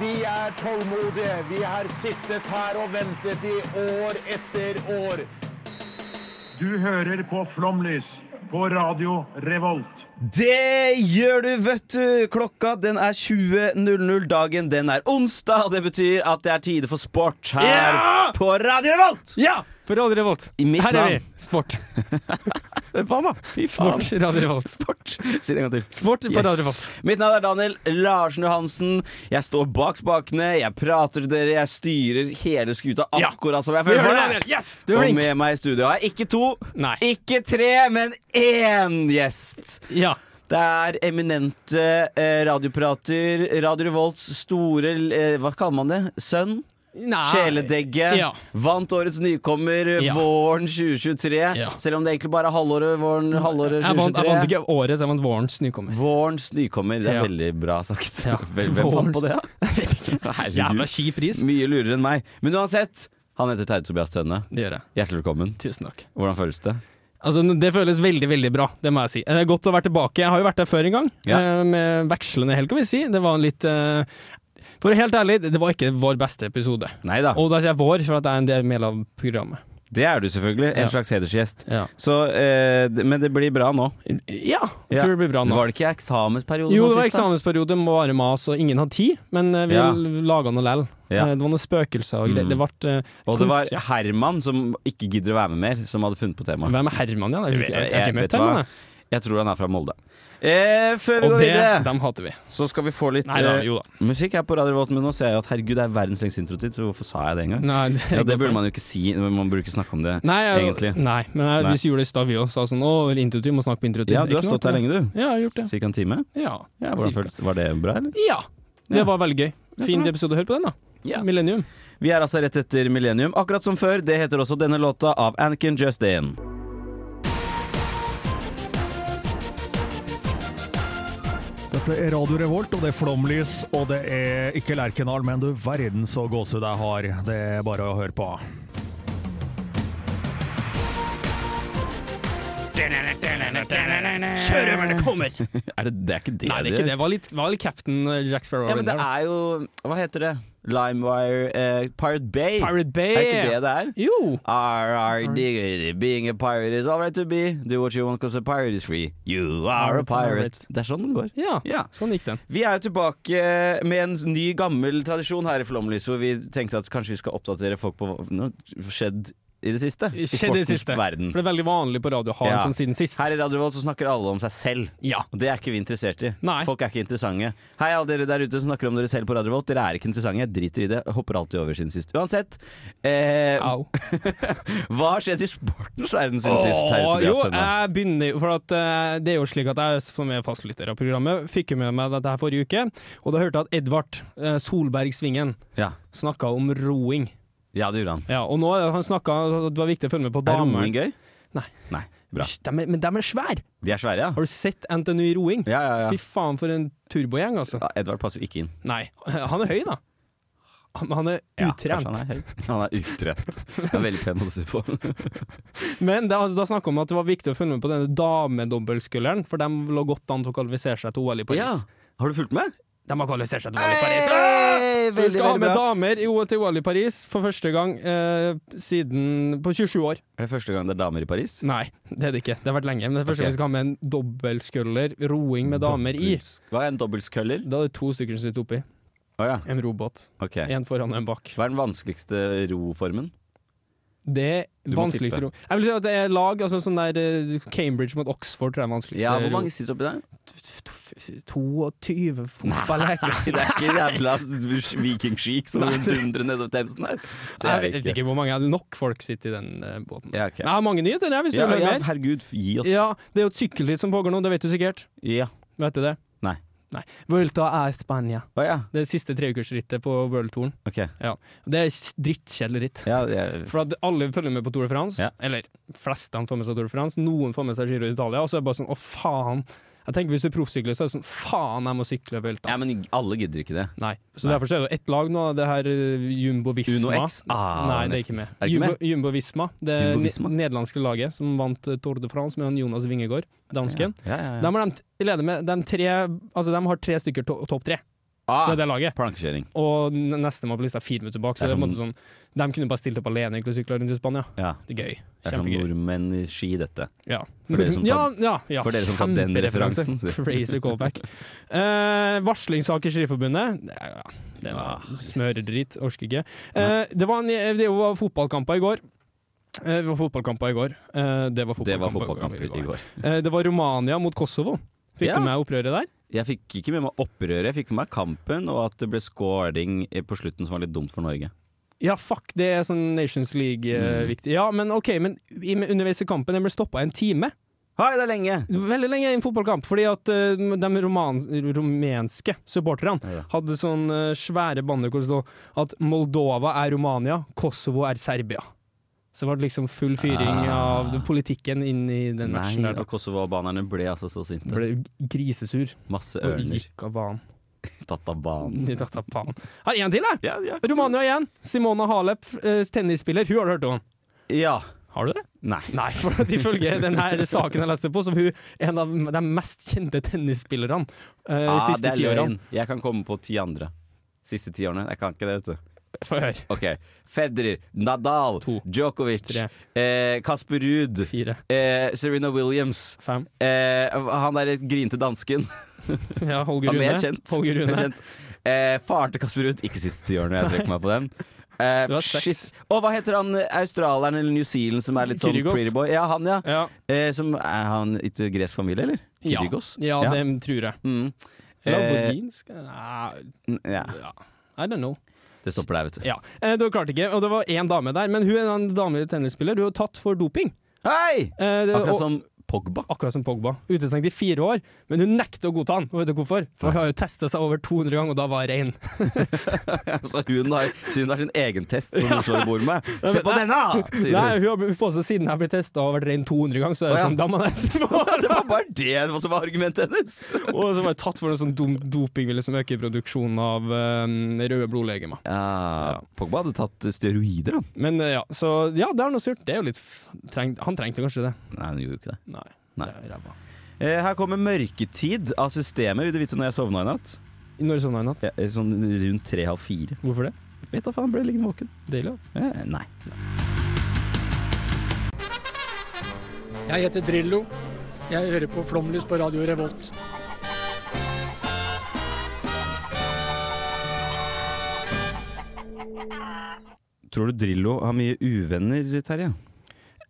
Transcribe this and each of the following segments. Vi er tålmodige. Vi har sittet her og ventet i år etter år. Du hører på Flomlys på Radio Revolt. Det gjør du, vet du! Klokka den er 20.00. Dagen den er onsdag, og det betyr at det er tide for sport her Ja! på Radio Revolt! Ja! På Radio Revolt. I mitt Her er vi. navn. Sport. Hva da? Fy faen. Sport. Radio Revolt. Sport. Si det en gang til. Sport på Radio Revolt. Mitt navn er Daniel Larsen Johansen. Jeg står bak spakene, jeg prater til dere, jeg styrer hele skuta Ja. akkurat som jeg Vi føler hører for Daniel. det. Yes, du er Og flink. med meg i studio har jeg ikke to, Nei. ikke tre, men én gjest. Ja. Det er eminente eh, radioprater, Radio Revolts store eh, Hva kaller man det? Sønn? Nei. Kjæledegge. Ja. Vant årets nykommer eh, Ja. våren 2023. Ja. Selv om det egentlig bare er halvåret våren halvåret Jeg vant, jeg 2023. vant ikke året, så jeg vant vårens nykommer. Vårens nykommer. Det er Ja. veldig bra sagt. Ja. Hvem hvem fant på det? da? Jeg vet ikke. Jævla Herregud. kjip pris. Mye lurere enn meg. Men uansett, han heter Terje Tobias Tønne. Det gjør jeg. Hjertelig velkommen. Tusen takk. Hvordan føles det? Altså, det føles veldig, veldig bra, det må jeg si. Det er godt å være tilbake. Jeg har jo vært der før en gang, Ja. eh, med vekslende hell, kan vi si. Det var en litt eh, For å være helt ærlig, det var ikke vår beste episode. Nei da. Og da sier jeg vår, for at jeg er en del del av programmet. Det er du selvfølgelig. En Ja. slags hedersgjest. Ja. Så, eh, d- men det blir bra nå. ja jeg Ja. tror det blir bra nå. Var det ikke eksamensperiode som Jo, det var sist, da? eksamensperiode, må være mas, og ingen hadde tid. Men eh, vi Ja. laga noe lell. Ja. Eh, Det var noen spøkelser og greier. Mm. Det ble eh, Og det var konf- Herman som ikke gidder å være med mer, som hadde funnet på temaet. Hvem er Herman igjen? Jeg, Jeg- husker- jeg, jeg jeg- har ikke vet møtt du hva? Herman, jeg. Jeg tror han er fra Molde. Eh, før vi Og går det, videre, dem hater vi. så skal vi få litt Nei da, eh, jo da. musikk her på Radio Revolt, men nå ser jeg at herregud, det er verdens lengste introtid, så hvorfor sa jeg det engang? Nei, det, Ja, det burde man jo ikke si, man burde ikke snakke om det. Nei, jeg, egentlig. nei, men jeg, Nei. vi gjorde det i stad, vi òg. Sa sånn Å, introtur, må snakke på introtur. Ja, du Ikke har noe stått der annet. lenge, du. Ja, jeg har gjort det. Cirka en time. Ja. Ja, hvordan cirka. føltes Var det bra, eller? Ja. Det Ja. var veldig gøy. så Fin bra. episode. Hør på den, da. Ja. Millennium. Vi er altså rett etter Millennium, akkurat som før. Det heter også denne låta av Anakin Justin. Dette er Radio Revolt, og det er flomlys, og det er ikke Lerkendal, men du verden så gåsehud jeg har. Det er bare å høre på. Kjør over, det kommer! Er det, det er ikke det? Nei, det er ikke det. Det Var litt, var litt Captain eh, Jack Sparrow. Ja, men det der, da. er jo Hva heter det? Limewire eh, Pirate Bay. Pirate Bay. Er ikke det det er? Jo. RR diggity, being a pirate is all right to be. Do what you want because a pirate is free. You are a pirate. Det er sånn den går. Ja, Ja. sånn gikk den. Vi er jo tilbake med en ny, gammel tradisjon her i Flomlys, hvor vi tenkte at kanskje vi skal oppdatere folk på hva som har skjedd i det siste. I Skjedde i det sportens siste. Verden. For det er veldig vanlig på radio å ha en Ja. sånn siden sist. Her i Radio Volt så snakker alle om seg selv. Ja. Og det er ikke vi interessert i. Nei. Folk er ikke interessante. Hei, alle dere der ute som snakker om dere selv på Radio Volt. Dere er ikke interessante. Jeg driter i det. Jeg hopper alltid over siden sist. Uansett, eh, Au. hva har skjedd i sportens verden siden sist? Terje Åh, jo, Tobias Tønne? jeg begynner jo, for at, eh, det er jo slik at jeg som er fastlytter av programmet, fikk jo med meg dette her forrige uke, og da hørte jeg at Edvard eh, Solberg Svingen Ja. snakka om roing. ja, det gjorde han. Ja, og nå har han snakket, det var viktig å følge med på Er damer. roing gøy? Nei. Nei. Bra. Hysj, dem er- men de er svære! De er svære, ja. Har du sett NTNU i roing? Ja, ja, ja. Fy faen for en turbogjeng, altså. ja Edvard passer jo ikke inn. Nei, han er høy, da. Han- Han er Ja, utrent. kanskje Han er, høy. han er utrent. Han er veldig pen måte å se på. Men det, altså, da snakka om at det var viktig å følge med på denne damedobbeltskulderen, for de lå godt an til å kvalifisere seg til OL i Paris. Ja. Har du fulgt med? De har kvalifisert seg til OL i Paris. Hey, Så vi veldig, skal ha veldig med bra. damer i OL til OL i Paris for første gang eh, siden på 27 år. Er det første gang det er damer i Paris? Nei, det er det ikke. Det har vært lenge. Men det er Ok. første gang vi skal ha med en dobbeltsculler, roing med damer i. Hva er en dobbeltsculler? Da er det to stykker som sitter oppi. Å ja, En robåt. ok. En foran og en bak. Hva er den vanskeligste roformen? Det er Du må vanskeligst tippe. ro. Jeg vil si at det er lag, altså sånn der eh, Cambridge mot Oxford tror jeg er vanskeligst. Ja, hvor mange sitter oppi der? Ro- 22 fotballeker. Det er ikke jævla vikingskik som dundrer nedover Themsen her. Det er Jeg vet ikke hvor mange. er det Nok folk sitter i den eh, båten. Ja, ok. Jeg har mange nyheter, jeg, hvis du Ja, vil ja, høre mer. herregud, gi oss. Ja, det er jo et sykkelritt som pågår nå, det vet du sikkert. Ja. Vet du det? Nei. Nei. Vuelta a Spania. Å ja, Det er siste treukersrittet på World Touren. ok. Ja. Det er drittkjedelig ritt. Ja, jeg, For at alle følger med på Tour de France, Ja. eller flestene får med seg Tour de France, noen får med seg Giro d'Italia, og så er det bare sånn å faen. Jeg tenker Hvis du er proffsykler, så er det sånn faen, jeg må sykle Vuelta. ja, men alle gidder ikke det. Nei. Så Nei. derfor så er det jo ett lag nå, det her eh, Jumbo Visma. Uno X? Ah, Nei, det er nesten. ikke med. Er det ikke med? Jumbo, Jumbo Visma, det Jumbo ne- Visma? nederlandske laget som vant eh, Tour de France med han Jonas Vingegaard, dansken. Ja, ja, De, ja. har de, t- leder med, de, tre, altså de har tre stykker to, topp tre fra Ah, det laget. plankekjøring. Og n- neste må på lista er fire minutter bak, så Det det er er på en måte sånn, de kunne bare stilt opp alene egentlig og sykla rundt i Spania. Ja. Det er gøy. Det er som Kjempegøy. nordmenn i ski, dette. Ja. For dere som tar- ja, ja, ja. for dere som tar den Kjempereferanse. referansen, sier jeg. Crazy callback. Eh, varslingssak i Skiforbundet. Det er- Ja, det Ah, var yes. smøredrit. Orker ikke. Eh, det, var en, det var fotballkamper i går. Eh, det var fotballkamper i går. Eh, det var Det var fotballkamper, fotballkamper i går. Eh, det var Romania mot Kosovo. Fikk Ja. du med opprøret der? Jeg fikk ikke med meg opprøret, jeg fikk med meg kampen og at det ble scoring på slutten som var litt dumt for Norge. Ja, fuck, det er sånn Nations League-viktig. Ja, men ok, men i- underveis i kampen den ble stoppa en time. Hei, det er lenge! Veldig lenge i en fotballkamp, fordi at eh, de roman, rumenske supporterne Ja. hadde sånn eh, svære banner hvor det stod at Moldova er Romania, Kosovo er Serbia. Så det var liksom full fyring Ah. av politikken inn i den matchen Nei, der. og kosovo-albanerne ble altså så Da sinte. ble grisesur Masse og ørner gikk av banen. tatt av banen. De tatt av banen. Her, en til, da! Ja, ja. Romania igjen. Simona Halep, eh, tennisspiller. Hun har du hørt om? ja. Har du det? Nei. Nei, for at ifølge den her saken jeg leste på, som hun en av de mest kjente tennisspillerne eh, de Ah, siste det er ti årene. løgn. Jeg kan komme på ti andre. Siste ti årene. Jeg kan ikke det, vet du. Få høre. Ok. Federer, Nadal, To. Djokovic, Tre. eh, Kasper Ruud, Fire. eh, Serena Williams, Fem. eh, han der grinte dansken. Ja, Holger Han Rune. er kjent. Holger Rune. Mer kjent. Eh, faren til Kasper Ruud. Ikke siste tiårene, jeg trekker meg på den. Eh, Du har seks. shit. Og hva heter han eh, australieren eller New Zealand som er litt sånn Kyrgios. pretty boy? Ja, han, ja. Ja. Eh, som, er han ikke gresk familie, eller? Ja. Kyrgios? ja, Ja. det tror jeg. Mm. Eh, Lamborghinsk? Nei, n- Mm, ja. ja. I don't know. Det stopper der, vet du. Ja. Eh, Det var klart ikke, og det var én dame der, men hun er en dame tennisspiller. Hun er tatt for doping. Hei! Eh, det- og- Akkurat som Pogba. akkurat som Pogba. Utestengt i fire år, men hun nekter å godta han. Og vet du hvorfor? For hun har jo testa seg over 200 ganger, og da var hun rein. Altså, hun, har, så hun har sin egen test som hun slår i bord med. Se på denne! sier Nei, hun. hun har påstått siden jeg ble testa og vært rein 200 ganger, så er det Å, ja. sånn, da må jeg nesten få Det var bare det som var argumentet hennes! Og så var jeg tatt for noe sånn dum doping, vil liksom øke produksjonen av eh, røde blodlegemer. Ja, Ja. Pogba hadde tatt steroider, han. Men eh, ja, så ja, det har han også gjort. Det er jo litt f trengt. Han trengte kanskje det. Nei, han gjorde jo ikke det. Nei. Nei. det er ræva. Eh, her kommer mørketid av systemet. Vil du vite når jeg sovna i natt? Når sovna i natt? Ja, eh, sånn rundt tre-halv fire. Hvorfor det? Vet da faen, ble jeg liggende våken. Deilig. Eh, nei. Jeg heter Drillo. Jeg hører på Flomlys på Radio Revolt. Tror du Drillo har mye uvenner, Terje? da.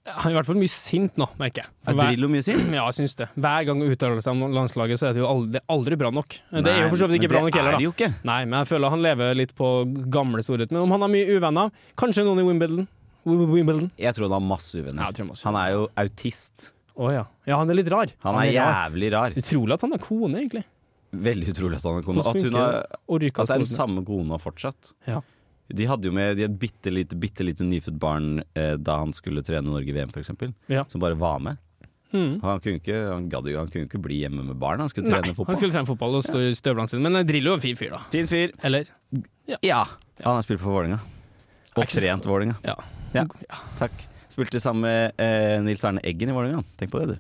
Han er i hvert fall mye sint nå, merker jeg. For Er hver- Drillo mye sint? Ja, jeg syns det. Hver gang hun uttaler seg om landslaget, så er det jo aldri, det er aldri bra nok. det er jo for så vidt ikke bra nok Det heller, er da. det jo ikke. Nei, men jeg føler han lever litt på gamle storhet. Men om han har mye uvenner, kanskje noen i Wimbledon. Wi- Wimbledon. Jeg tror han har masse uvenner. Ja, jeg tror han har masse han er jo autist. Å ja. Ja, han er litt rar. Han er rar. jævlig rar. Utrolig at han har kone, egentlig. Veldig utrolig at han har kone. Hvordan At, hun funker har, det? Og ryker at det er den stoltene. samme kona fortsatt. Ja. De hadde jo med de hadde et bitte lite, bitte lite nyfødt barn eh, da han skulle trene Norge i VM, f.eks. Ja. Som bare var med. Mm. Han kunne ikke, han gadd, jo- han kunne ikke bli hjemme med barn, han skulle Nei, trene han fotball. skulle trene fotball og stå i støvlene sine. Men Drillo er en fin fyr, da. Fin fyr. Eller? Ja. Han har spilt for Vålinga Er Og ikke så- trent Vålinga Ja. Ja. Takk. Spilte sammen med eh, Nils Arne Eggen i Vålinga Tenk på det, du.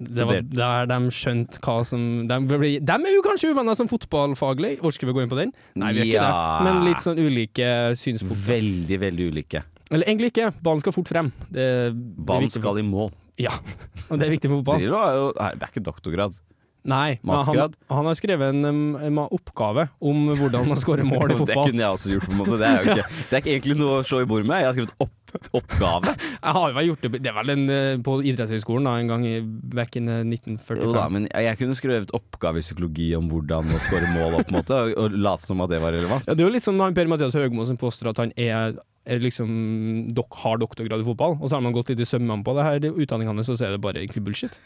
Det var Studert. der de skjønte hva som De, ble, de er jo kanskje uvenner som fotballfaglig, orker vi å gå inn på den? Nei, vi gjør ikke Ja. det. Men litt sånn ulike synspunkt. Veldig, veldig ulike. Eller egentlig ikke, ballen skal fort frem. Det, det er Ballen viktig for- skal i mål. Ja, og det er viktig for fotball. Drillo er jo nei, Det er ikke doktorgrad. Nei, men han, Mastergrad? han har skrevet en, um, en oppgave om hvordan man skårer mål i Det fotball. kunne jeg også gjort, på en måte. Det er jo ikke, det er ikke egentlig noe å slå i bord med. Jeg har skrevet opp, oppgave. Jeg har jo vel gjort det Det er vel en, eh, på idrettshøyskolen da, en gang i, back in eh, Jo da, 1945. men jeg kunne skrevet oppgave i psykologi om hvordan å score mål, opp, på en måte, og, og late som at det var relevant. Ja, det er jo litt sånn da Per Mathias Høgmo som påstår at han er, er liksom dok, har doktorgrad i fotball, og så har man gått litt i sømmene på det her utdanningen hans, og så er det bare egentlig bullshit.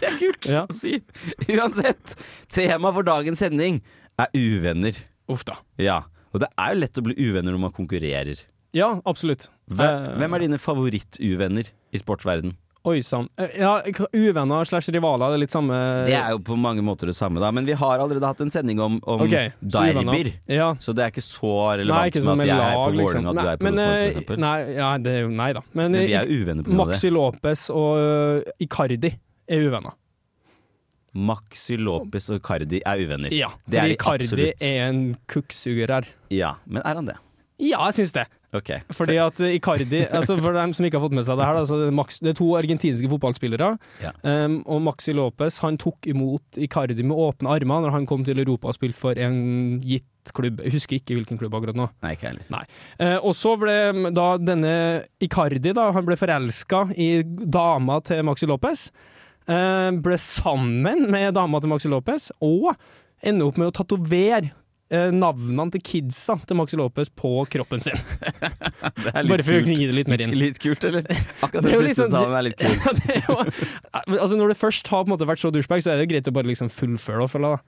Det er kult Ja. å si. Uansett, tema for dagens sending er uvenner. Uff da. Ja, og det er jo lett å bli uvenner når man konkurrerer. Ja, absolutt. Hvem, Eh. hvem er dine favorittuvenner i sportsverden? Oi sann. Eh, Ja, k- uvenner slash rivaler, det er litt samme Det er jo på mange måter det samme, da, men vi har allerede hatt en sending om, om Ok, så derbyer. uvenner. Ja. Så det er ikke så relevant Nei, ikke med som at en jeg er lag, på liksom. Vålerenga og du er på men, Rosenborg, eh, for eksempel. Nei, ja, det er jo nei da. Men, Men vi eh, er jo uvenner på grunn av det. Maxi Lopez og eh, Icardi er uvenner. Maxi Lopez og Cardi er uvenner. Ja, det er fordi de Icardi absolutt. er en kukksuger her. Ja, men er han det? Ja, jeg syns det. Ok. Fordi at eh, Icardi altså For dem som ikke har fått med seg det her, da, så er det, Max, det er to argentinske fotballspillere. Ja. Um, og Maxi Lopez han tok imot Icardi med åpne armer når han kom til Europa og spilte for en gitt klubb. Jeg husker ikke hvilken klubb akkurat nå. Nei, ikke heller. Eh, og så ble mm, da denne Icardi da, han ble forelska i dama til Maxi Lopez. Eh, ble sammen med dama til Maxi Lopez, og ender opp med å tatovere eh, navnene til kidsa til Maxi Lopez på kroppen sin. Det er Bare for å kunne gi det litt mer Litt, inn. litt kult, eller? Akkurat Det det er jo siste liksom- talen er litt kult. Ja, det er jo, altså når det først har på en måte vært så douchebag, så er det greit å bare liksom fullføre det. føler jeg, da.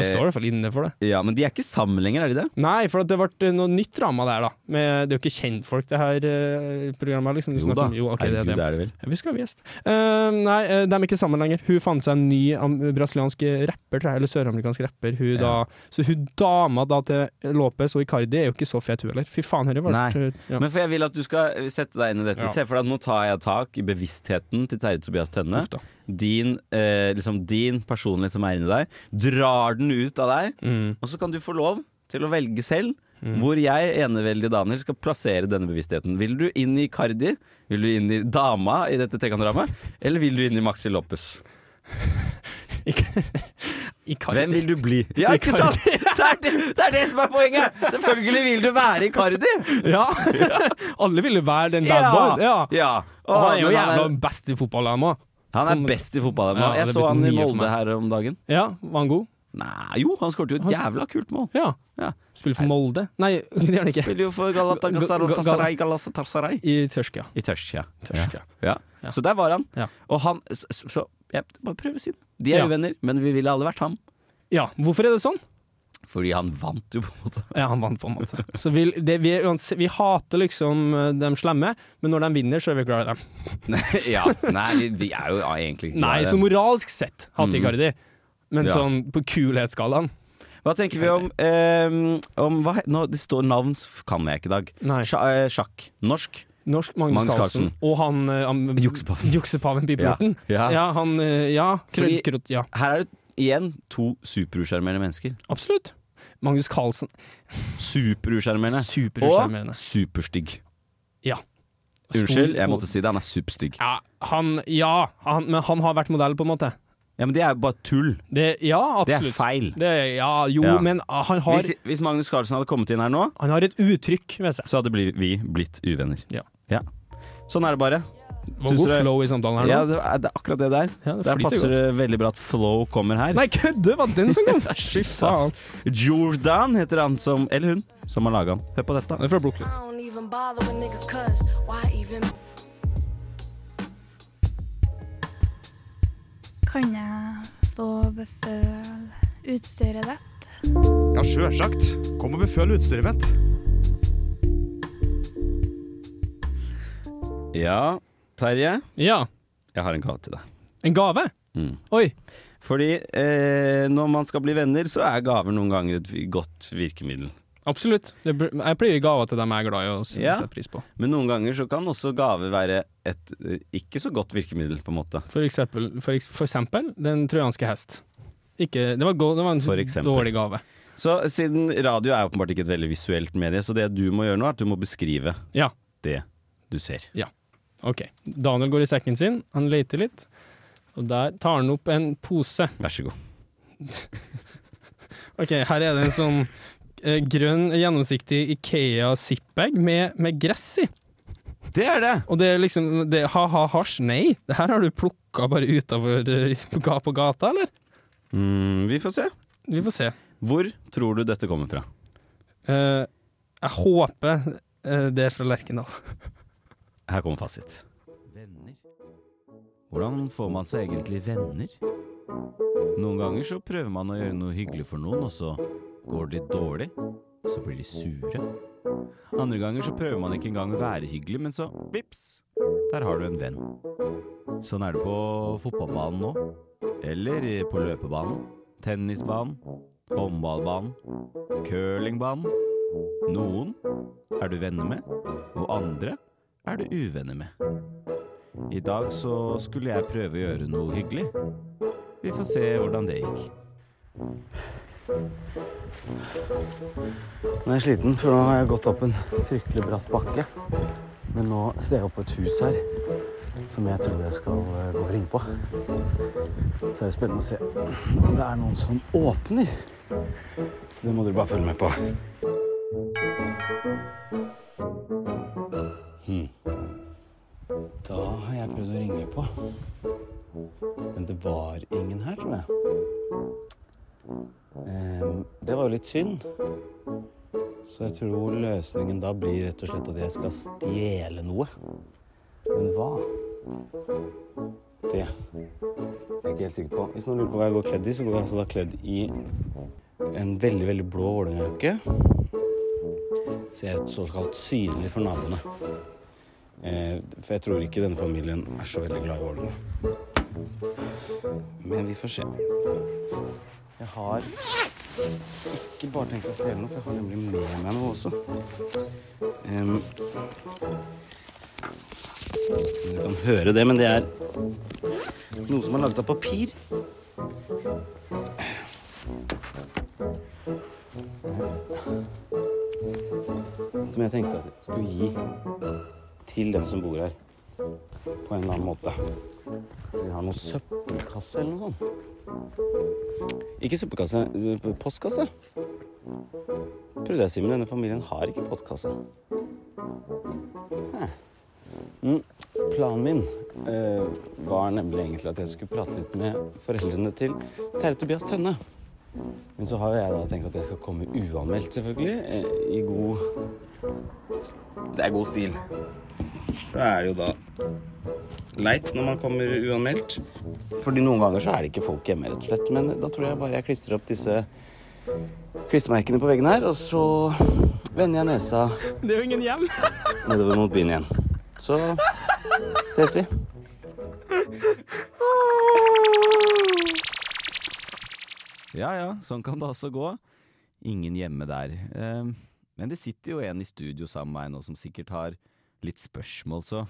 Eh, står du i hvert fall inne for det. ja, men de er ikke sammen lenger, er de det? Nei, for at det ble eh, noe nytt drama der, da. Med, det er jo ikke kjentfolk, det her eh, programmet. liksom. Du Jo snakker da. om- Jo, ok, det er Herregud, det. er det vel. Vi skal ha gjest. Eh, nei, eh, de er ikke sammen lenger. Hun fant seg en ny am brasiliansk rapper, tror jeg, eller søramerikansk rapper. Hun Ja. da, så hun dama da til Lopez og Icardi er jo ikke så fet, hun heller. Fy faen, dette Nei. ble ja. Men for jeg vil at du skal sette deg inn i dette. Ja. Se for deg at nå tar jeg tak i bevisstheten til Terje Tobias Tønne. Uff da. Din, eh, liksom din personlighet som er inni deg. Drar den ut av deg, Mm. og så kan du få lov til å velge selv. Hvor jeg, eneveldig Daniel, skal plassere denne bevisstheten. Vil du inn i Cardi? Vil du inn i dama i dette Tekan-dramaet? Eller vil du inn i Maxi Lopez? Icardi. Hvem vil du bli? Ja, ikke sant? Det er det, det er det som er poenget! Selvfølgelig vil du være i Cardi! Ja! Alle ville være den bad boy. Ja. ja. Og han er jo men han er- jævla best i fotball, han òg. Han er best i fotball. Ja, Ja, jeg det så betyr han i mye for Molde meg. her om dagen. Ja, var han god? Nei, jo, han skåret jo et jævla kult mål. Ja. Ja. Spiller for Molde? Nei, det gjør han ikke. Spiller jo for Galatasaray Galatasaray. I Tørskia. I Tørsja. Tørskia. Ja. Ja. Så der var han. Ja. Og han Så, så jeg bare prøver å si det. De er Ja. uvenner, men vi ville alle vært ham. Ja, hvorfor er det sånn? Fordi han vant jo, på en måte. Ja, han vant, på en måte. Så vi, det, vi, er uanse- vi hater liksom eh, de slemme, men når de vinner, så er vi glad i dem. Nei, ja. Nei vi, vi er jo ja, egentlig ikke Nei, glad i så dem. moralsk sett hater jeg Gardi, men Ja. sånn på kulhetsskalaen Hva tenker vi om, ehm, om hva, he- nå, Det står navn f- kan jeg ikke i dag. Nei. Sja- eh, Sjakk. Norsk. Norsk Magnus, Magnus Carlsen. Carlsen. Og han, eh, han Juksepaven. Juksepaven Pipeloten. Ja. Ja. han eh, Ja. Fordi- krøllkrott- ja. Her er det igjen to superusjarmerende mennesker. Absolutt. Magnus Carlsen. Superusjarmerende. Superusjarmerende. Og superstygg. Ja. Unnskyld, Stor- jeg måtte si det. Han er superstygg. Ja, han, ja han, men han har vært modell, på en måte. Ja, men det er jo bare tull. Det, ja, Det er absolutt. feil. Det, ja, jo, Ja. men han har, Hvis, hvis Magnus Carlsen hadde kommet inn her nå, han har et uttrykk ved seg. så hadde bli- vi blitt uvenner. Ja. Sånn er det bare. Det var Syns god dere- flow i samtalen her nå. Ja, det er, det er akkurat det der. Ja, det der flyter passer godt. det veldig bra at Flow kommer her. Nei, kødde! Var den som kom? Shit, ass. Jordan heter han som Eller hun som har laga han. Hør på dette. Det er fra Brooklyn. I don't even bother with niggas cuz why even Kan jeg få beføle utstyret ditt? Ja, sjølsagt. Kom og beføl utstyret mitt. Ja, Terje. Ja. Jeg har en gave til deg. En gave? Mm. Oi. Fordi eh, når man skal bli venner, så er gaver noen ganger et vi- godt virkemiddel. Absolutt. Det, br- jeg pleier å gi gaver til dem jeg er glad i og s- Ja. setter pris på. Men noen ganger så kan også gaver være et eh, ikke så godt virkemiddel, på en måte. For eksempel, for eks- for eksempel den trojanske hest. Ikke, det, var go, det var For en eksempel. dårlig gave. Så siden radio er åpenbart ikke et veldig visuelt medie, så det du må gjøre nå, er at du må beskrive Ja. det du ser. Ok. Daniel går i sekken sin, han leter litt, og der tar han opp en pose. Vær så god. Ok, her er det en sånn eh, grønn, gjennomsiktig Ikea zipbag med, med gress i. Det er det! Og det er liksom det, Ha-ha, hasj, nei. Det her har du plukka bare utafor på gata, eller? Mm, vi får se. Vi får se. Hvor tror du dette kommer fra? Eh, jeg håper eh, det er fra Lerkendal. Her kommer fasit. Venner. Hvordan får man seg egentlig venner? Noen ganger så prøver man å gjøre noe hyggelig for noen, og så går det litt dårlig. Så blir de sure. Andre ganger så prøver man ikke engang å være hyggelig, men så vips, der har du en venn. Sånn er det på fotballbanen nå. Eller på løpebanen. Tennisbanen. Håndballbanen. Curlingbanen. Noen er du venner med, og andre er du uvenner med. I dag så skulle jeg prøve å gjøre noe hyggelig. Vi får se hvordan det gikk. Nå er jeg sliten, for nå har jeg gått opp en fryktelig bratt bakke. Men nå ser jeg opp på et hus her som jeg tror jeg skal eh, gå og ringe på. Så er det spennende å se om det er noen som åpner. Så det må dere bare følge med på. Hmm. Da har jeg prøvd å ringe på. Men det var ingen her, tror jeg. Ehm, det var jo litt synd. Så jeg tror løsningen da blir rett og slett at jeg skal stjele noe. Men hva? Det er jeg ikke helt sikker på. Hvis noen lurer på hva jeg går kledd i, så går jeg altså da kledd i en veldig, veldig blå Vålerenga-jakke. Så jeg er såkalt synlig for naboene. Eh, for jeg tror ikke denne familien er så veldig glad i Vålerenga. Men vi får se. Jeg har ikke bare tenkt å stjele noe, for jeg har nemlig med meg noe også. Em, dere kan høre det, men det er noe som er laget av papir. Som jeg tenkte at jeg skulle gi til dem som bor her. På en eller annen måte. Vi har noen søppelkasse eller noe sånt. Ikke søppelkasse, eh, p- postkasse. Prøvde jeg å si, men denne familien har ikke postkasse. Hæ. Mm, planen min eh, var nemlig egentlig at jeg skulle prate litt med foreldrene til Terje Tobias Tønne. Men så har jo jeg da tenkt at jeg skal komme uanmeldt, selvfølgelig. eh, I god s- Det er god stil. Så er det jo da leit når man kommer uanmeldt. Fordi noen ganger så er det ikke folk hjemme, rett og slett. Men da tror jeg bare jeg klistrer opp disse klistremerkene på veggen her, og så vender jeg nesa Det er jo ingen hjem. nedover mot byen igjen. Så ses vi. Ja ja, sånn kan det altså gå. Ingen hjemme der. Eh, Men det sitter jo en i studio sammen med meg nå som sikkert har litt spørsmål, så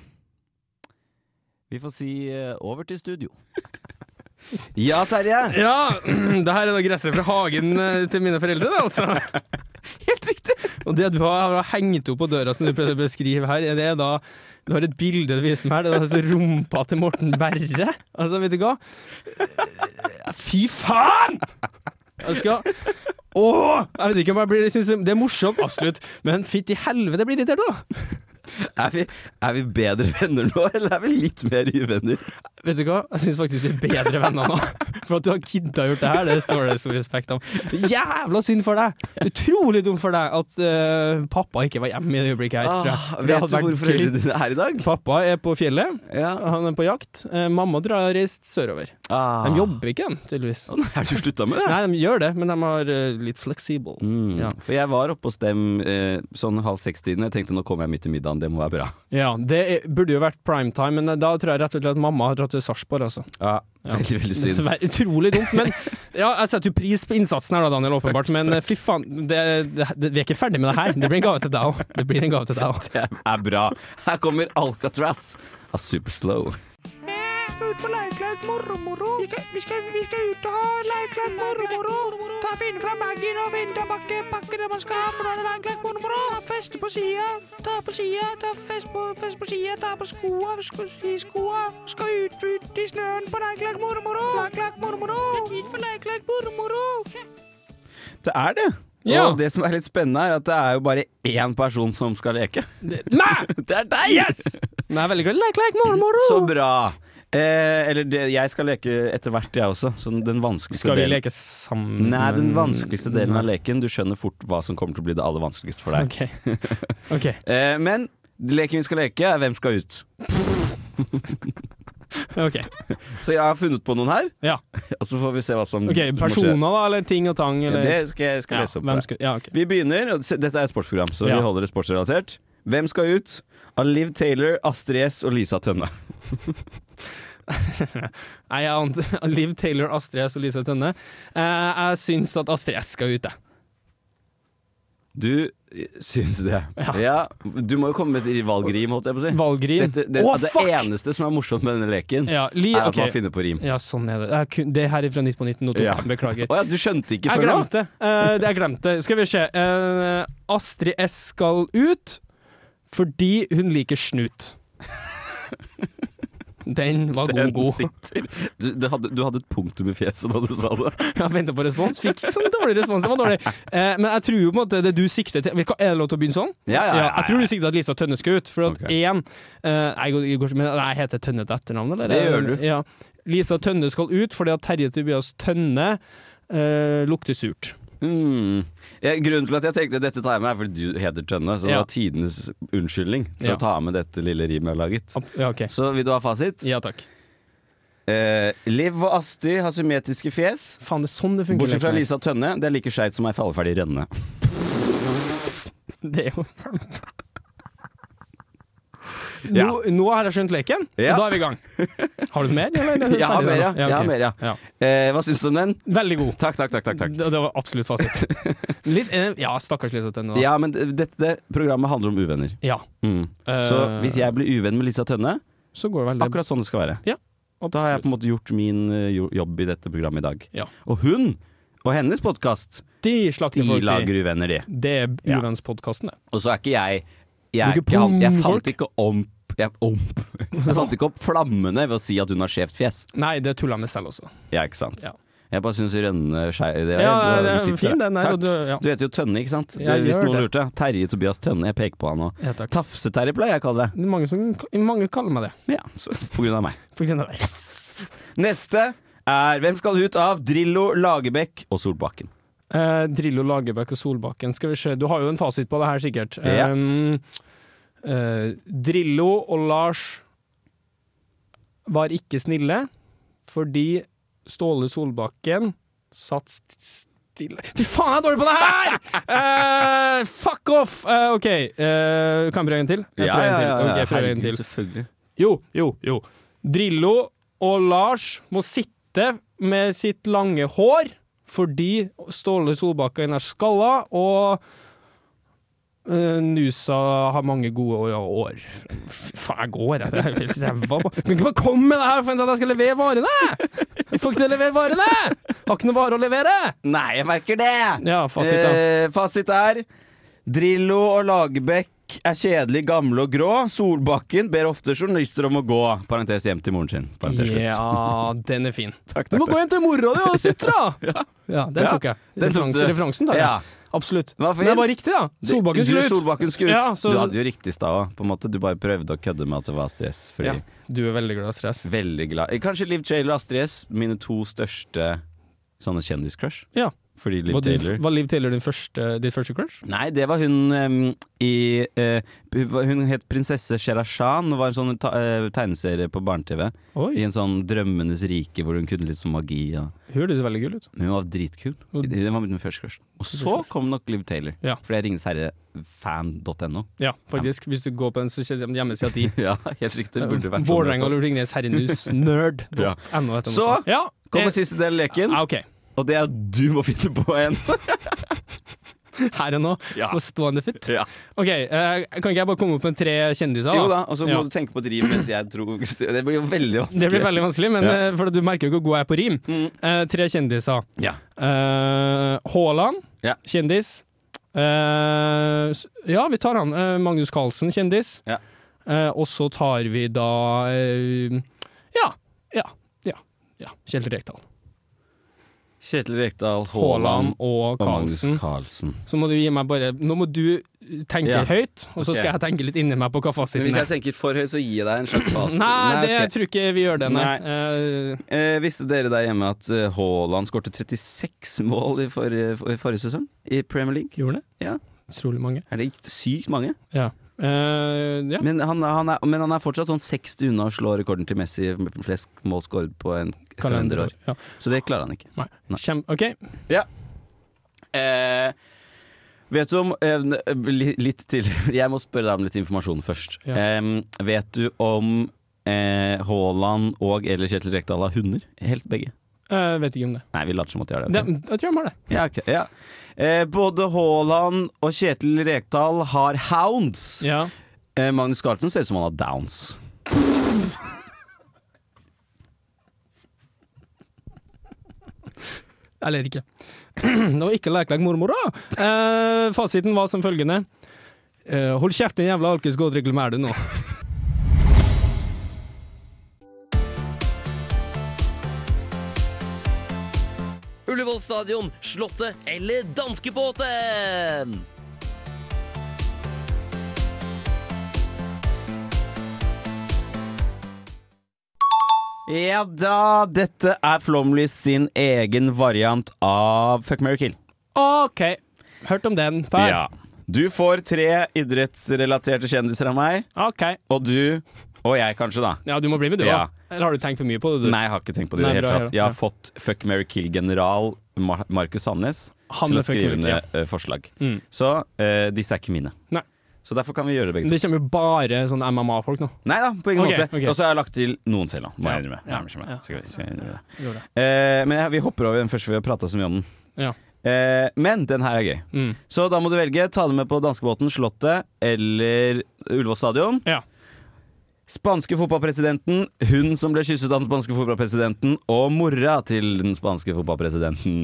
Vi får si eh, over til studio. Ja, Terje. Ja, det her er da gresset fra hagen eh, til mine foreldre, det, altså. Helt riktig. Og det du har har hengt opp på døra, som du prøvde å beskrive her, er det da Du har et bilde du viser meg her, det er altså rumpa til Morten Berre. Altså, vet du hva? Eh, Fy faen! Jeg skal Åh! Jeg vet ikke om jeg blir jeg synes det- Det er morsomt, absolutt, men fytti helvete, jeg blir irritert, da. Er vi, er vi bedre venner nå, eller er vi litt mer uvenner? Vet du hva? Jeg syns faktisk vi er bedre venner nå. For at du har kidda gjort det her, det står det stor respekt om. Jævla synd for deg! Utrolig dumt for deg at eh, pappa ikke var hjemme i det øyeblikket her. tror jeg. Ah, Det vet hadde du vært hvor gøy. foreldrene dine er i dag? Pappa er på fjellet. Ja. Han er på jakt. Eh, mamma tror jeg har reist sørover. Ah. De jobber ikke, de, tydeligvis. Er du slutta med det? Nei, de gjør det, men de er eh, litt fleksible. Mm, Ja. For jeg var oppe hos dem eh, sånn halv seks-tiden. Jeg tenkte nå kommer jeg midt i middagen, det må være bra. Ja, det er, burde jo vært primetime, men da tror jeg rett og slett at mamma har dratt til Sarpsborg, altså. Ja, Veldig, veldig synd. Dessverre, utrolig dumt, men ja, jeg setter jo pris på innsatsen her, da, Daniel, åpenbart. Men eh, fy faen, det, det, det, vi er ikke ferdig med det her. Det blir en gave til deg òg. Det blir en gave til deg òg. Det er bra. Her kommer Alcatraz Ah, av Superslow. skal ut på leirkledd moro-moro. Vi, skal- vi, skal- vi skal ut og ha leirkledd moro-moro. Ta Finne fram bagen og finne tilbake pakkene man skal ha. for da er det leirkledd moro-moro. Ta feste på sida, ta på sida, ta fest på, fest på sida, ta på skoa, sko, skiskoa. Skal ut, ut i snøen på leirkledd moro-moro. Leirkledd moro-moro. Det er tid for leirkledd moro-moro. Det er det. Ja. Og det som er litt spennende, er at det er jo bare én person som skal leke. Nei! Det er deg! Yes! Nei, veldig glad. Lek, lek, moro, moro. Så bra. Eh, eller det, jeg skal leke etter hvert, jeg også. Så den vanskeligste Skal vi delen. leke sammen? Nei, den vanskeligste delen av leken. Du skjønner fort hva som kommer til å bli det aller vanskeligste for deg. Ok. Ok. Eh, men leken vi skal leke, er Hvem skal ut? Så jeg har funnet på noen her, Ja. og så får vi se hva som Ok, som Personer, skjer. da, eller ting og tang? Eller? Det skal jeg, jeg skal Ja, lese opp. hvem for deg. skulle- ja, ok. Vi begynner, og se- dette er et sportsprogram, så Ja. vi holder det sportsrelatert. Hvem skal ut? Av Liv Taylor, Astrid S og Lisa Tønne. Nei, jeg ante Liv Taylor, Astrid S og Lise Tønne. Eh, jeg syns at Astrid S skal ut, jeg. Du syns det. Ja. Du må jo komme med et valgrim, holdt jeg på å si. Valgrim? Dette, det, Å, det fuck! eneste som er morsomt med denne leken, Ja, li, er at ok. man finner på rim. Ja, sånn er det. Jeg kun- Det her er fra Nytt på Nytt, nå tok Ja. jeg beklager. Å ja, du skjønte ikke Jeg før nå? glemte eh, det. Jeg glemte. Skal vi se. Eh, Astrid S skal ut fordi hun liker snut. Den var Den god, god. sitter. Du, det hadde, du hadde et punktum i fjeset da du sa det. Jeg venta på respons, fikk sånn dårlig respons. Det var dårlig. Eh, men jeg tror jo på en måte det du sikter til Vet du hva, Er det lov til å begynne sånn? Ja, ja, ja, ja. jeg tror du sikter til at Lisa Tønne skal ut. For at Ok. én eh, jeg, går- jeg går- men jeg heter Tønne til etternavn, eller? Det gjør du. Ja. Lisa Tønne skal ut fordi at Terje Tobias Tønne eh, lukter surt. Hmm. Jeg, grunnen til at jeg tenkte dette tar jeg med, er fordi du heter Tønne. Så det Ja. var tidenes unnskyldning til Ja. å ta med dette lille rimet jeg har laget. Ja, ok. Så vil du ha fasit? Ja, takk. Eh, Liv og Astrid har symmetriske fjes. Faen, det er sånn det funker. Bortsett fra Lekner. Lisa Tønne, det er like skeit som ei falleferdig renne. Det er jo sant. Ja. Nå, nå har jeg skjønt leken, Ja. og da er vi i gang. Har du mer? Eller? er det Jeg har ferdig mer, ja. der nå? Jeg har ok. mer, ja. Eh, hva syns du om den? Veldig god. Takk, takk, takk. takk, takk. Det, det var absolutt fasit. Litt, eh, ja, stakkars Lisa Tønne. da. Ja, men d- dette programmet handler om uvenner. Ja. Mm. Så Eh. hvis jeg blir uvenn med Lisa Tønne, Så går det veldig akkurat sånn det skal være. Ja, Da har jeg på en absolutt. måte gjort min eh, jo- jobb i dette programmet i dag. Ja. Og hun og hennes podkast, De slakter de folk, de. lager uvenner, de. Det er uvennspodkasten, det. Og så er ikke jeg Jeg, Du er er ikke ikke han, jeg fant pungfolk. ikke omp jeg, omp. jeg fant ikke opp flammene ved å si at hun har skjevt fjes. Nei, det tuller jeg med selv også. Ja, ikke sant? Ja. Jeg bare syns rønne skei... Det, Ja, det- det er sitter fin der. den der, Takk. og du- ja. Du heter jo Tønne, ikke sant? Det, Jeg hvis gjør noen det. lurte. Terje Tobias Tønne, jeg peker på han nå. Ja, takk. Tafse-Terje pleier jeg å kalle det. Mange, som, mange kaller meg det. Ja, så, på grunn av meg. For grunn av det. Neste er Hvem skal ut av Drillo, Lagerbäck og Solbakken? Eh, Drillo, Lagerbäck og Solbakken. Skal vi se. Du har jo en fasit på det her, sikkert. Ja. Um, eh, Drillo og Lars var ikke snille fordi Ståle Solbakken satt st- stille Fy faen, jeg er dårlig på det her! Eh, fuck off! Eh, OK, eh, kan jeg prøve en til? Jeg prøver en til. Ok, jeg prøver en herregud, til. Selvfølgelig. Jo, jo, jo. Drillo og Lars må sitte med sitt lange hår fordi Ståle Solbakken er skalla, og eh, Nusa har mange gode å- år. Fy Faen, jeg går, jeg. Det er helt ræva på. Kan ikke bare komme med det her og forvente at jeg skal levere varene! Jeg får ikke til å levere varene! Har ikke noe vare å levere! Nei, jeg merker det! Ja, fasit, da. Eh, fasit er Drillo og Lagerbäck er kjedelig, gamle og grå. Solbakken ber ofte journalister om å gå. Parentes hjem til moren sin. Parentes slutt. Ja, den er fin. Takk, takk, Du må gå takk. hjem til mora di og sutra! ja. den Ja, tok jeg. den tok Referansen, du. referansen tar jeg. Ja. Absolutt. Den var fin. Men det var riktig, da. Solbakken Du- skulle ut. Solbakken skulle ut. Ja, så, Du hadde jo riktig stad òg, på en måte. Du bare prøvde å kødde med at det var stress. Fordi ja. Du er veldig glad i stress. Veldig glad Eh, Kanskje Liv Taylor og Astrid S, mine to største sånne kjendiscrush. Ja. Fordi Liv Var, din, Taylor var Liv Taylor din første, ditt første crush? Nei, det var hun em, i eh, hun var- Hun het prinsesse Sherashan og var en sånn ta, eh, tegneserie på barne-TV. Oi. I en sånn Drømmenes rike hvor hun kunne litt sånn magi. Og. Hun hørtes veldig kul ut. Men hun var dritkul. Det var min første crush. Og så kom nok Liv Taylor. Ja. Fordi jeg ringes herrefan.no. Ja, faktisk. Hvis du går på den, så ser du hjemmesida di. Ja, helt riktig. Det burde vært sånn. Vålerenga og Ringnes Herrenhus nerd. Ja. NO heter den Så også. ja, Kommer eh, siste del av leken, ja, OK. og det er at du må finne på en. Her og nå, Ja. på stående fot. Ja. OK, eh, kan ikke jeg bare komme opp med tre kjendiser? Jo da, og så må Ja. du tenke på et rim mens jeg tror Det blir jo veldig vanskelig. Det blir veldig vanskelig, men Ja. Mm. eh, for du merker jo ikke hvor god jeg er på rim. Eh, tre kjendiser. Ja. Eh, Haaland, Ja. kjendis. Eh, s- ja, vi tar han. Eh, Magnus Carlsen, kjendis. Ja. Eh, og så tar vi da eh, Ja, ja, ja. ja. Kjell Rekdal. Kjetil Rekdal, Haaland Haaland og og Magnus Carlsen. Carlsen. Så må du gi meg bare Nå må du tenke Ja. høyt, og så Ok. skal jeg tenke litt inni meg på hva Men fasiten hvis jeg er. tenker for høyt, så gir jeg deg en slags fasit. Nei, det ok. tror jeg ikke vi gjør det, nei. Nei. Eh, eh, Visste dere der hjemme at eh, Haaland skårte 36 mål i forrige, for- forrige sesong i Premier League? gjorde det? Ja. Utrolig mange. Er det ikke sykt mange? Ja. Eh, ja. men, han, han er, men han er fortsatt sånn 60 unna å slå rekorden til Messi med flest mål skåret på en et kalenderår. Kalenderår, ja. Så det klarer han ikke. Nei. Kjem, ok. Ja. Eh, vet du om eh, li- Litt til. Jeg må spørre deg om litt informasjon først. Ja. Em, vet du om eh, Haaland og eller Kjetil Rekdal har hunder? Helst begge. Eh, vet ikke om det. Nei, vi later som at de har det. det. Jeg tror jeg må det. Ja, ok, ja. Eh, både Haaland og Kjetil Rekdal har hounds. Eh, Magnus Carlsen ser ut som han har downs. Jeg ler ikke. Det var ikke lekelek mormor, da! Eh, fasiten var som følgende. Eh, hold kjeft, din jævla alkis, gå og drikk litt mer, du, nå. Ullevål stadion, Slottet eller Danskebåten? Ja da, dette er Flomlys sin egen variant av Fuck, marry, kill. OK. Hørt om den før. Ja. Du får tre idrettsrelaterte kjendiser av meg. Og du, og jeg kanskje, da. Ja, du må bli med, du Ja. òg. Eller har du tenkt for mye på det? Du? Nei, jeg har ikke tenkt på det i Nei, det bra, hele tatt. ja, Jeg har ja. fått Fuck, marry, kill-general Mar Markus Sandnes Han til er å fuck, skrive marry, ned kill, eh, forslag. Mm. Så eh, disse er ikke mine. Nei. Så derfor kan vi gjøre det begge to. Det kommer jo bare sånn MMA-folk nå. Nei da, på ingen Ok, måte. ok. Og så har jeg lagt til noen selv, da. Må jeg innrømme. ja, Nærmer seg meg. Skal vi- skal vi innrømme det. Gjør det. Eh, men jeg, vi hopper over den første, for vi har prata så mye om den. Ja. Eh, men den her er gøy. Mm. Så da må du velge. Ta det med på danskebåten, Slottet eller Ullevål stadion. Spanske fotballpresidenten, hun som ble kysset av den spanske fotballpresidenten, og mora til den spanske fotballpresidenten.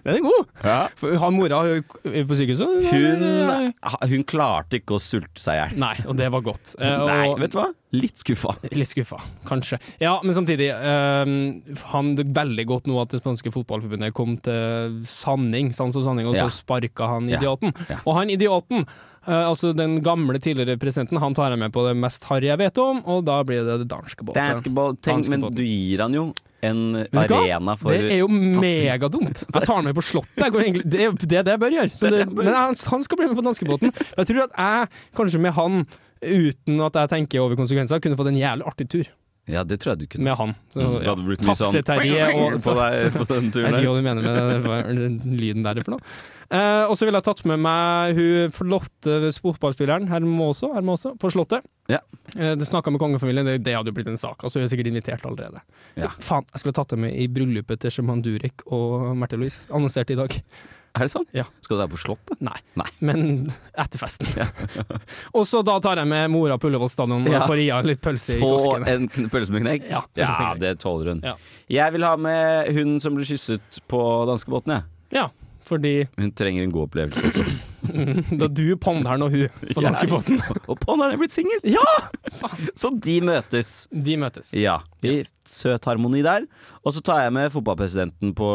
Den er god! Ja. For Har mora hun er på sykehuset? Hun, eller? hun klarte ikke å sulte seg i hjel. Nei, og det var godt. Eh, og- Nei, vet du hva? Litt skuffa. Litt skuffa, kanskje. Ja, men samtidig eh, Han det veldig godt nå at det spanske fotballforbundet kom til sanning, sans og sanning, og Ja. så sparka han Ja. idioten. Og han idioten, eh, altså den gamle tidligere presidenten, han tar jeg med på det mest harry jeg vet om, og da blir det det danske båten. Danskeball, tenk, men du gir han jo en Vet du hva? arena for Det er jo tafsing. megadumt. Jeg tar han med på Slottet. Jeg går egentlig, det er jo det, er det jeg bør gjøre. Så det, men han, han skal bli med på danskebåten. Jeg tror at jeg, kanskje med han, uten at jeg tenker over konsekvenser, kunne fått en jævlig artig tur. Ja, det tror jeg du kunne. Med han. Så, Mm, det ja. hadde blitt mye sånn Tafseterrie og- på, deg, på den Jeg turen vet ikke hva der. du mener med hva er den lyden der for noe. Eh, og så ville jeg tatt med meg hun flotte fotballspilleren, herr Maaso, herr Maaso, på Slottet. Ja. Eh, du snakka med kongefamilien, det, det hadde jo blitt en sak. Altså, hun er sikkert invitert allerede. Ja. Faen, jeg skulle tatt det med i bryllupet til Shaman Durek og Märtha Louise. Annonsert i dag. Er det sant? Ja. Skal du være på Slottet? Nei. Nei. Men etter festen. og så da tar jeg med mora på Ullevål stadion og Ja. får i henne litt pølse i Få kiosken. en kn- pølse med knekk? Ja, pølse med knekk. det tåler hun. Ja. Jeg vil ha med hun som ble kysset på danskebåten, jeg. Ja, fordi Hun trenger en god opplevelse også. da du ponderen og hun på Ja. danskebåten. Og ponderen er blitt singel! Ja! Så de møtes. De møtes. Ja. I søt harmoni der. Og så tar jeg med fotballpresidenten på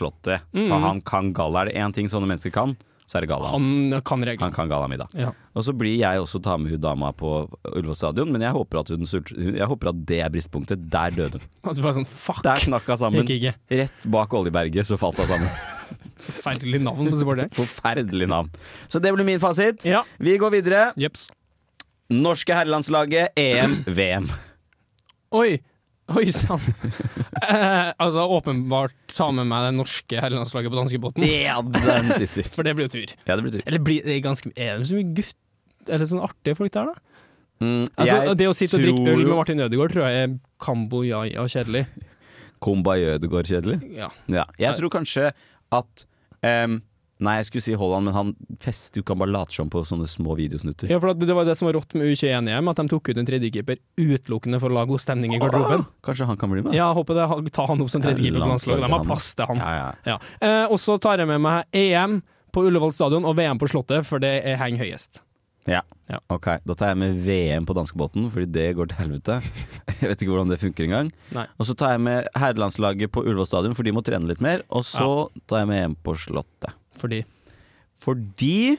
Slottet. Mm. For han kan galla. Er det én ting sånne mennesker kan, så er det galla. Han kan reglene. Han kan gallamiddag. Ja. Og så blir jeg også ta med hun dama på Ullevål stadion, men jeg håper at, hun sult, hun- jeg håper at det er bristpunktet. Der døde hun. Altså bare sånn fuck, Der knakk hun sammen. Gikk ikke. Rett bak oljeberget så falt hun sammen. forferdelig navn på supporteren. Forferdelig navn. Så det blir min fasit. Vi går videre. Norske herrelandslaget, EM, VM. Oi! Oi sann! eh, altså, åpenbart ta med meg det norske herrelandslaget på danskebåten. Ja, den sitter. For det blir jo tur. Ja, det blir tur. Eller blir det ganske Er det så mye gutt... Eller sånn artige folk der, da? Mm, Altså, jeg det å sitte og drikke tror øl med jo- Martin Ødegaard tror jeg er kambo jaja kjedelig. Komba Jødegård kjedelig? Ja. Jeg tror kanskje at ehm, Nei, jeg skulle si Haaland, men han fester jo ikke, han bare later som på sånne små videosnutter. Ja, for at det var det som var rått med U21-EM, at de tok ut en tredjekeeper utelukkende for å lage god stemning i garderoben. Kanskje han kan bli med? Ja, jeg håper det. Han- Ta han opp som tredjekeeper på landslaget. De har plass til han. Ja. Eh, og så tar jeg med meg EM på Ullevål stadion og VM på Slottet, for det er- henger høyest. Ja. Ok, Da tar jeg med VM på danskebåten, fordi det går til helvete. Jeg vet ikke hvordan det funker engang. Nei. Og så tar jeg med herrelandslaget på Ullevål stadion, for de må trene litt mer. Og så tar jeg med hjem på Slottet. Fordi? Fordi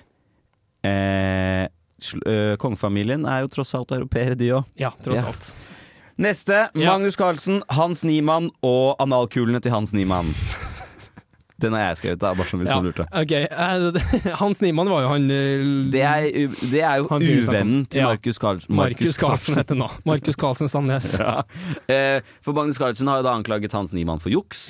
eh, sl- øh, kongefamilien er jo tross alt europeere, de òg. Ja, tross alt. Neste. Magnus Carlsen, Hans Niemann og analkulene til Hans Niemann. Den har jeg skrevet, da, bare som hvis Ja. noen lurte. Ok, eh, Hans Niemann var jo han eh, Det er, u- det er jo Han fyren som- uvennen til Ja. Markus Carlsen. Markus Carlsen heter nå. Markus Carlsen Sandnes. Ja. Eh, For Magnus Carlsen har jo da anklaget Hans Niemann for juks.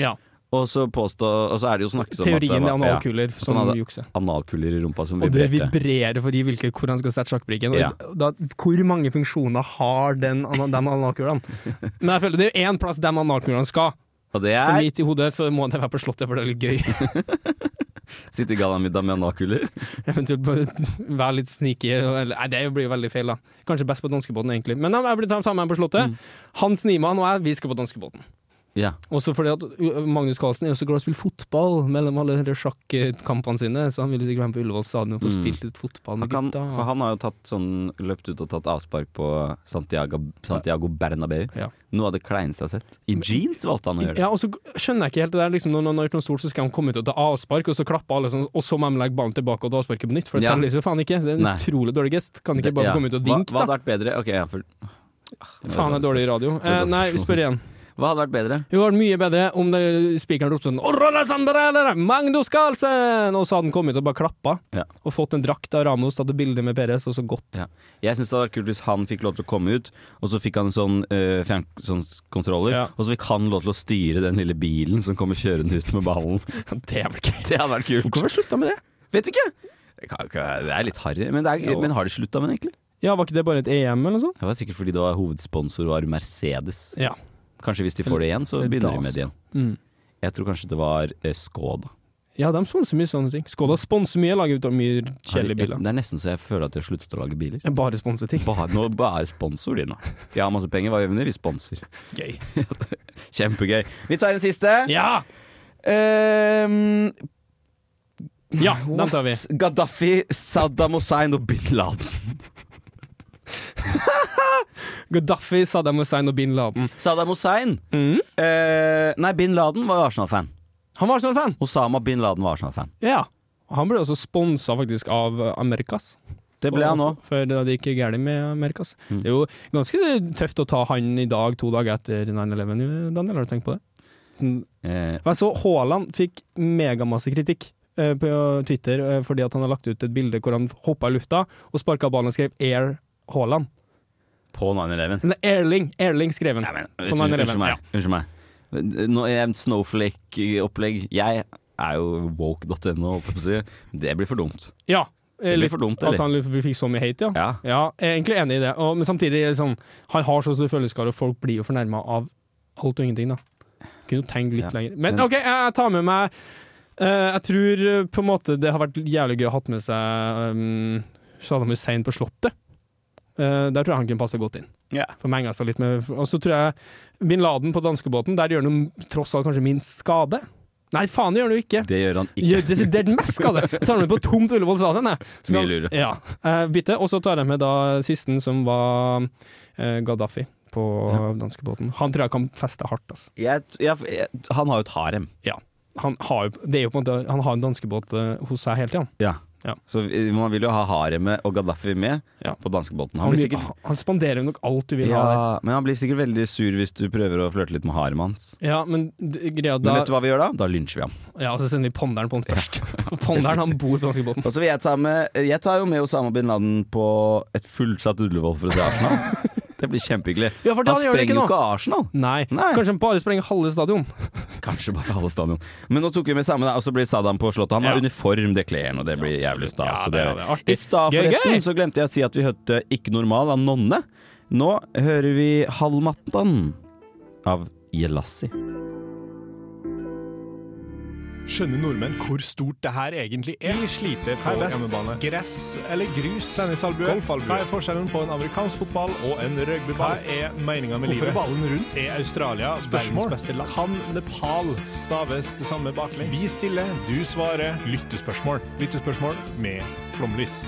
Og så, påstå, og så er det jo snakket om Teorien at det er var- sånn analkuler at han som hadde jukser. Analkuler i rumpa som Og det vibrerte. vibrerer for i hvilke, hvor han skal sette sjakkbrikken. Og Ja. Da, hvor mange funksjoner har den, ana- de analkulene? Men jeg føler det er jo én plass de analkulene skal. Og det For er midt i hodet så må det være på Slottet, for det er litt gøy. sitte i gallamiddag med analkuler. Eventuelt bare være litt sneaky. Eller, nei, det blir jo veldig feil, da. Kanskje best på danskebåten, egentlig. Men jeg blir ta sammen på Mm. Slottet. Hans Niemann og jeg, vi skal på danskebåten. Ja. Også fordi at uh, Magnus Carlsen er jo så glad i å spille fotball mellom alle de sjakkampene sine, så han ville sikkert være med på Ullevål stadion og få Mm. spilt litt fotball Han med kan, gutta. for han har jo tatt sånn, løpt ut og tatt avspark på Santiago, Santiago Bernabeu. Noe av det kleineste jeg har sett. I jeans valgte han å gjøre det. Ja, og så skjønner jeg ikke helt det der liksom, Når noen har gjort noe stort, så skal de komme ut og ta avspark, og så klapper alle sånn, og så må de legge ballen tilbake og ta avsparket på nytt, for det Ja. teller jo faen ikke. Det er en Nei. utrolig dårlig gest. Kan ikke Det- bare ja. komme ut og Hva, hva vinke, da? hadde vært bedre? Ok, ja, for, Faen, det er dårlig radio. Det er Eh, dårlig nei, spørsmål. spør iggen. Hva hadde vært bedre? Det var mye bedre om det- spikeren ropte sånn «Orrola Sandarella, Magnus Carlsen! Og så hadde han kommet og bare klappa, Ja. og fått en drakt av Ramos, tatt et bilde med Perez, og så gått. Ja. Jeg syns det hadde vært kult hvis han fikk lov til å komme ut, og så fikk han en sånn eh, fjernkontroller, og så fikk han lov til å styre den lille bilen som kommer kjørende ut med ballen. det hadde vært kult. Det hadde vært kult. Hvorfor har de slutta med det? Vet ikke! Det kan ikke- det er litt harry, men, det er, Jo. men har de slutta med det, egentlig? Ja, var ikke det bare et EM eller noe sånt? Det var sikkert fordi det var hovedsponsor var Mercedes. Ja. Kanskje hvis de får det igjen, så Eller begynner de Das. med det igjen. Mm. Jeg tror kanskje det var eh, Skoda. Ja, de sponser mye sånne ting. Skoda sponser mye, lager ut av mye Har de- kjedelige biler. Det er nesten så jeg føler at de har sluttet å lage biler. Bare sponser ting. Bare, nå bare sponsor de nå. De har masse penger, hva gjør vi med det? Vi sponser. Gøy. Kjempegøy. Vi tar en siste. Ehm, Ja! ja, den tar vi. Gaddafi, Saddam Hussein og bin Laden. Gaddafi, Saddam Hussein og bin Laden. Saddam Hussein? Mm. Eh, nei, bin Laden var jo Arsenal-fan. Han var Arsenal-fan? Osama bin Laden var Arsenal-fan. Ja. Og Han ble også sponsa faktisk av eh, Amerikas. Det ble han også. Mm. For det gikk galt med Amerikas. Det er jo ganske tøft å ta han i dag, to dager etter 9-11, Daniel. Har du tenkt på det? Sånn- Eh, For Jeg så Haaland fikk megamasse kritikk eh, på Twitter eh, fordi at han har lagt ut et bilde hvor han hoppa i lufta og sparka ballen og skrev 'Air Haaland'. på 9-11. Nei, Erling, Erling skrev den. På Unnskyld 9/11, unnskyld meg. Unnskyld meg. Nå er jeg en Snowflake-opplegg. Jeg er jo woke.no, holdt jeg på å si. Det blir for dumt. Ja. Det blir litt for dumt, at eller? han f- fikk så mye hate, ja. jeg er egentlig enig i det. Og, men samtidig, liksom, han har så stor følelseskare, og folk blir jo fornærma av alt og ingenting, da. Kunne jo tenkt litt Ja. lenger. Men Men- OK, jeg, jeg tar med meg eh, Jeg tror eh, på en måte det har vært jævlig gøy å ha med seg um, Saddam Hussein på Slottet. Eh, der tror jeg han kunne passe godt inn. Ja. For menga seg litt med Og så tror jeg bin Laden på danskebåten, der gjør han tross alt kanskje minst skade. Nei, faen, det gjør han jo ikke. Det gjør han ikke. Gjør desidert mest skade! Tar han med på tomt Ullevål stadion, jeg. Så Mye kan- lurere. Ja. Eh, bytte. Og så tar jeg med da sisten, som var eh, Gaddafi på danskebåten. Han tror jeg kan feste hardt, altså. Jeg, jeg, jeg, han har jo et harem. Ja. Han har jo det er jo på en måte Han har en danskebåt eh, hos seg hele tida. Ja. Ja. Så vi- man vil jo ha haremet og Gaddafi med på danskebåten. Han Han, blir vil- sikkert han spanderer nok alt du vil ha der. ja, men han blir sikkert veldig sur hvis du prøver å flørte litt med haremet hans. Ja, men d- greia Men da vet du hva vi gjør da? Da lynsjer vi ham. Ja, så sender vi ponderen på han først. For ponderen, han bor på danskebåten. Og så vil jeg ta med Jeg tar jo med Osama bin Laden på et fullsatt Ullevål for å se Arsenal. det blir kjempehyggelig. Ja, for da han gjør det sprenger jo ikke noe. ikke Arsenal. Nei. Kanskje han bare sprenger halve stadion. Kanskje bare halve stadion. Men nå tok vi med samme, da, og så blir Saddam på Slottet. Han har uniform, det kler han, og det blir jævlig stas. og det, det er det. Artig. I stad, Gøy, gøy! forresten, så glemte jeg å si at vi hørte Ikke normal av Nonne. Nå hører vi Halvmattan av Jelassi. Skjønner nordmenn hvor stort det her egentlig er? Vi sliter på hjemmebane. Gress eller grus? Tennisalbue? Hva er forskjellen på en amerikansk fotball og en rugbyball? Hva er meninga med Hvorfor livet? er ballen rundt? Er Australia Spørsmål. verdens beste land? Kan Nepal staves det samme baklengs? Vi stiller, du svarer. Lyttespørsmål. Lyttespørsmål med flomlys.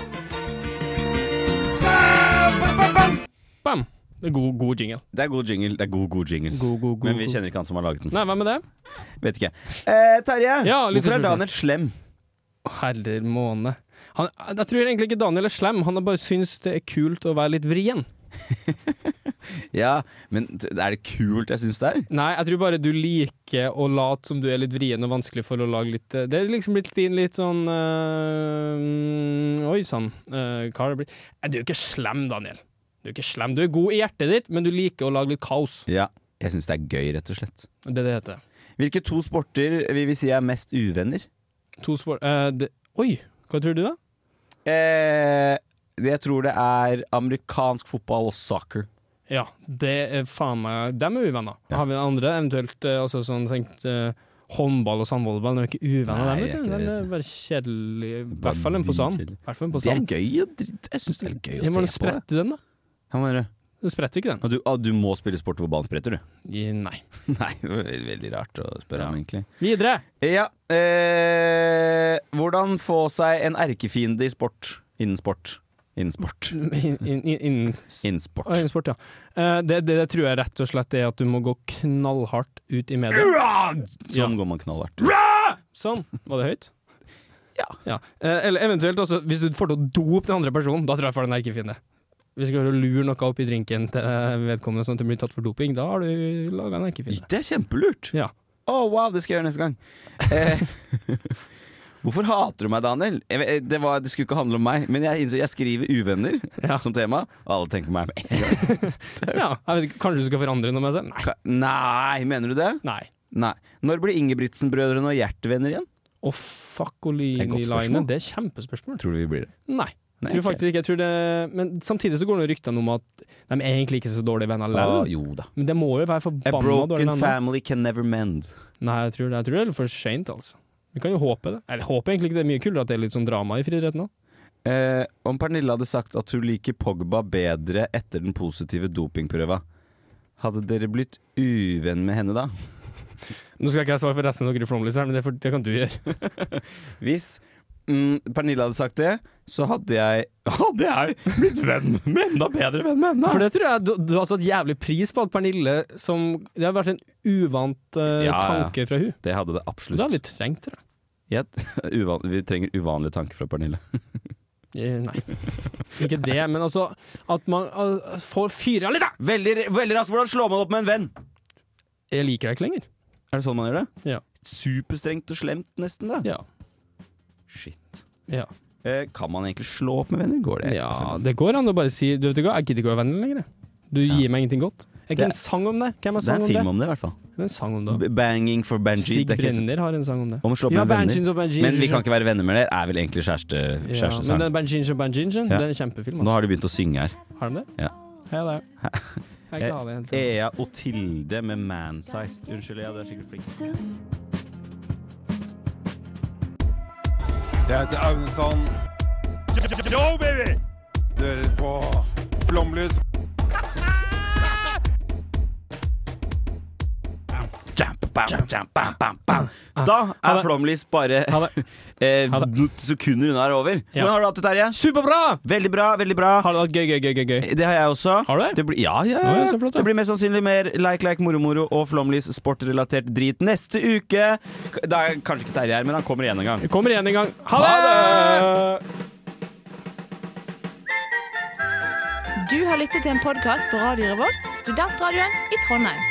Bam! Det er god, god jingle. Det er god jingle. Det er god, god jingle. god, Men vi god. kjenner ikke han som har laget den. Nei, hvem er det? Vet ikke. Eh, Terje, Ja, litt hvorfor er spørsmål. Daniel slem? Herrer måne. Han, jeg tror egentlig ikke Daniel er slem, han har bare syns det er kult å være litt vrien. Ja, men t- er det kult jeg syns det er? Nei, jeg tror bare du liker å late som du er litt vrien og vanskelig for å lage litt eh, Det er liksom blitt din litt sånn øh, Oi sann, øh, hva har det blitt? Nei, Du er jo ikke slem, Daniel. Du er ikke slem. Du er god i hjertet ditt, men du liker å lage litt kaos. Ja, jeg syns det er gøy, rett og slett. Det er det det heter. Hvilke to sporter vil vi si er mest uvenner? To spor... eh, det, oi, hva tror du, da? Eh, jeg tror det er amerikansk fotball og soccer. Ja, det er faen meg Dem er uvenner. Har vi andre, eventuelt eh, altså, sånn tenkt eh, håndball og sandvolleyball, de er ikke uvenner, Nei, jeg er dem, vet du. ikke De det, er bare kjedelige. I hvert fall en på sand. dritkjedelig. Hvert fall en på Det er sand. gøy å dritt. Jeg syns det er gøy å Ja, men se på. det. spretter den, da? Hva mener du? Den spretter ikke, den. Ah, Du, ah, du må spille sport hvor ballen spretter, du? Nei. Nei, det var ve- Veldig rart å spørre om, egentlig. Videre! Ja. Eh, hvordan få seg en erkefiende i sport? Innen sport. Innen sport. Innen sport. Å, Innsport, ja. Eh, det, det, det tror jeg rett og slett er at du må gå knallhardt ut i media. Sånn går man knallhardt. Sånn. Var det høyt? Ja. Eh, eller eventuelt også, hvis du får til å dope den andre personen, da tror jeg får den erkefiende. Hvis du klarer å lure noe opp i drinken til eh, vedkommende sånn at du blir tatt for doping, da har du laga en erkefiende. Det er kjempelurt! Ja. Å, wow, det skal jeg gjøre neste gang. Eh, hvorfor hater du meg, Daniel? Jeg, vet- det, var, det skulle ikke handle om meg, men jeg innså jeg skriver uvenner som tema, og alle tenker på meg med en gang. ja, jeg vet ikke, Kanskje du skal forandre noe med deg selv? Nei. Nei, mener du det? Nei. Når blir Ingebrigtsen-brødrene og Gjert venner igjen? Å, Fakkolini-line, det er kjempespørsmål. Tror du vi blir det? Nei. Nei, tror ikke. faktisk ikke. Jeg tror det, men samtidig så går det ryktene om at de er egentlig ikke så dårlige venner Ah, likevel. jo da. Men det må jo være A forbanna dårlige broken venner. family can never mend. Nei, jeg tror det. Jeg tror det er for seint, altså. Vi kan jo håpe det. Eller håper egentlig ikke det er mye kulere at det er litt sånn drama i friidretten òg. Eh, om Pernille hadde sagt at hun liker Pogba bedre etter den positive dopingprøva, hadde dere blitt uvenn med henne da? Nå skal ikke jeg svare for resten av dere flomlys her, men det, får- det kan du gjøre. Hvis mm, Pernille hadde sagt det, så hadde jeg Hadde jeg blitt venn med enda bedre venn med henne! For det tror jeg du, du har satt jævlig pris på at Pernille som Det har vært en uvant eh, tanke fra hun. Det hadde det absolutt. Det har vi trengt, tror jeg. Jeg- uvan, vi trenger uvanlige tanker fra Pernille. Eh, Nei. Ikke det, men altså at man eh, får fyra litt, da! Veldig, veldig raskt, hvordan slår man opp med en venn? Jeg liker deg ikke lenger. Er det sånn man gjør det? Ja. Superstrengt og slemt, nesten, da. Ja. Shit. Ja. Eh, kan man egentlig slå opp med venner? Går det? Altså, Ja, det går an å bare si Du vet ikke hva, jeg gidder ikke å være venn lenger. jeg. Du gir meg ingenting godt. Er Det- ikke en sang om det? Hvem har Det er sang en om det? film sånn om det, i hvert fall. Det er en sang om det. B- Banging for Benji. Stig det er ikke- Brenner har en sang om det. Om å slå opp Ja, med Banshees venner. og Banshees. Men vi kan ikke være venner med det, er vel egentlig kjæreste, ja, kjærestesang. Men den Banjinjen og Banjinjen, Ja. det er en kjempefilm. Nå Altså. har de begynt å synge her. Har de det? Ja. Eh, Hei der. Jeg er glad i henne. Ea Otilde med Mansized. Unnskyld, Ea, du er sikkert flink. Jeg heter Aunesson. Yo, baby! Du hører på Flomlys. Ah. Da er Flomlys bare eh, noen sekunder unna er over. Hvordan har du hatt det, Terje? Superbra! Veldig bra. veldig bra Har du hatt gøy, gøy, gøy? gøy, gøy? Det har jeg også. Har du det? blir, ja, ja, Ja, ja. ja, så flott, ja. det blir mest sannsynlig mer Like Like Moro-Moro og Flomlys sportrelatert drit neste uke. Da er kanskje ikke Terje her, men han kommer igjen en gang. Kommer igjen en gang. Ha det! Du har lyttet til en podkast på Radio Revolt, studentradioen i Trondheim.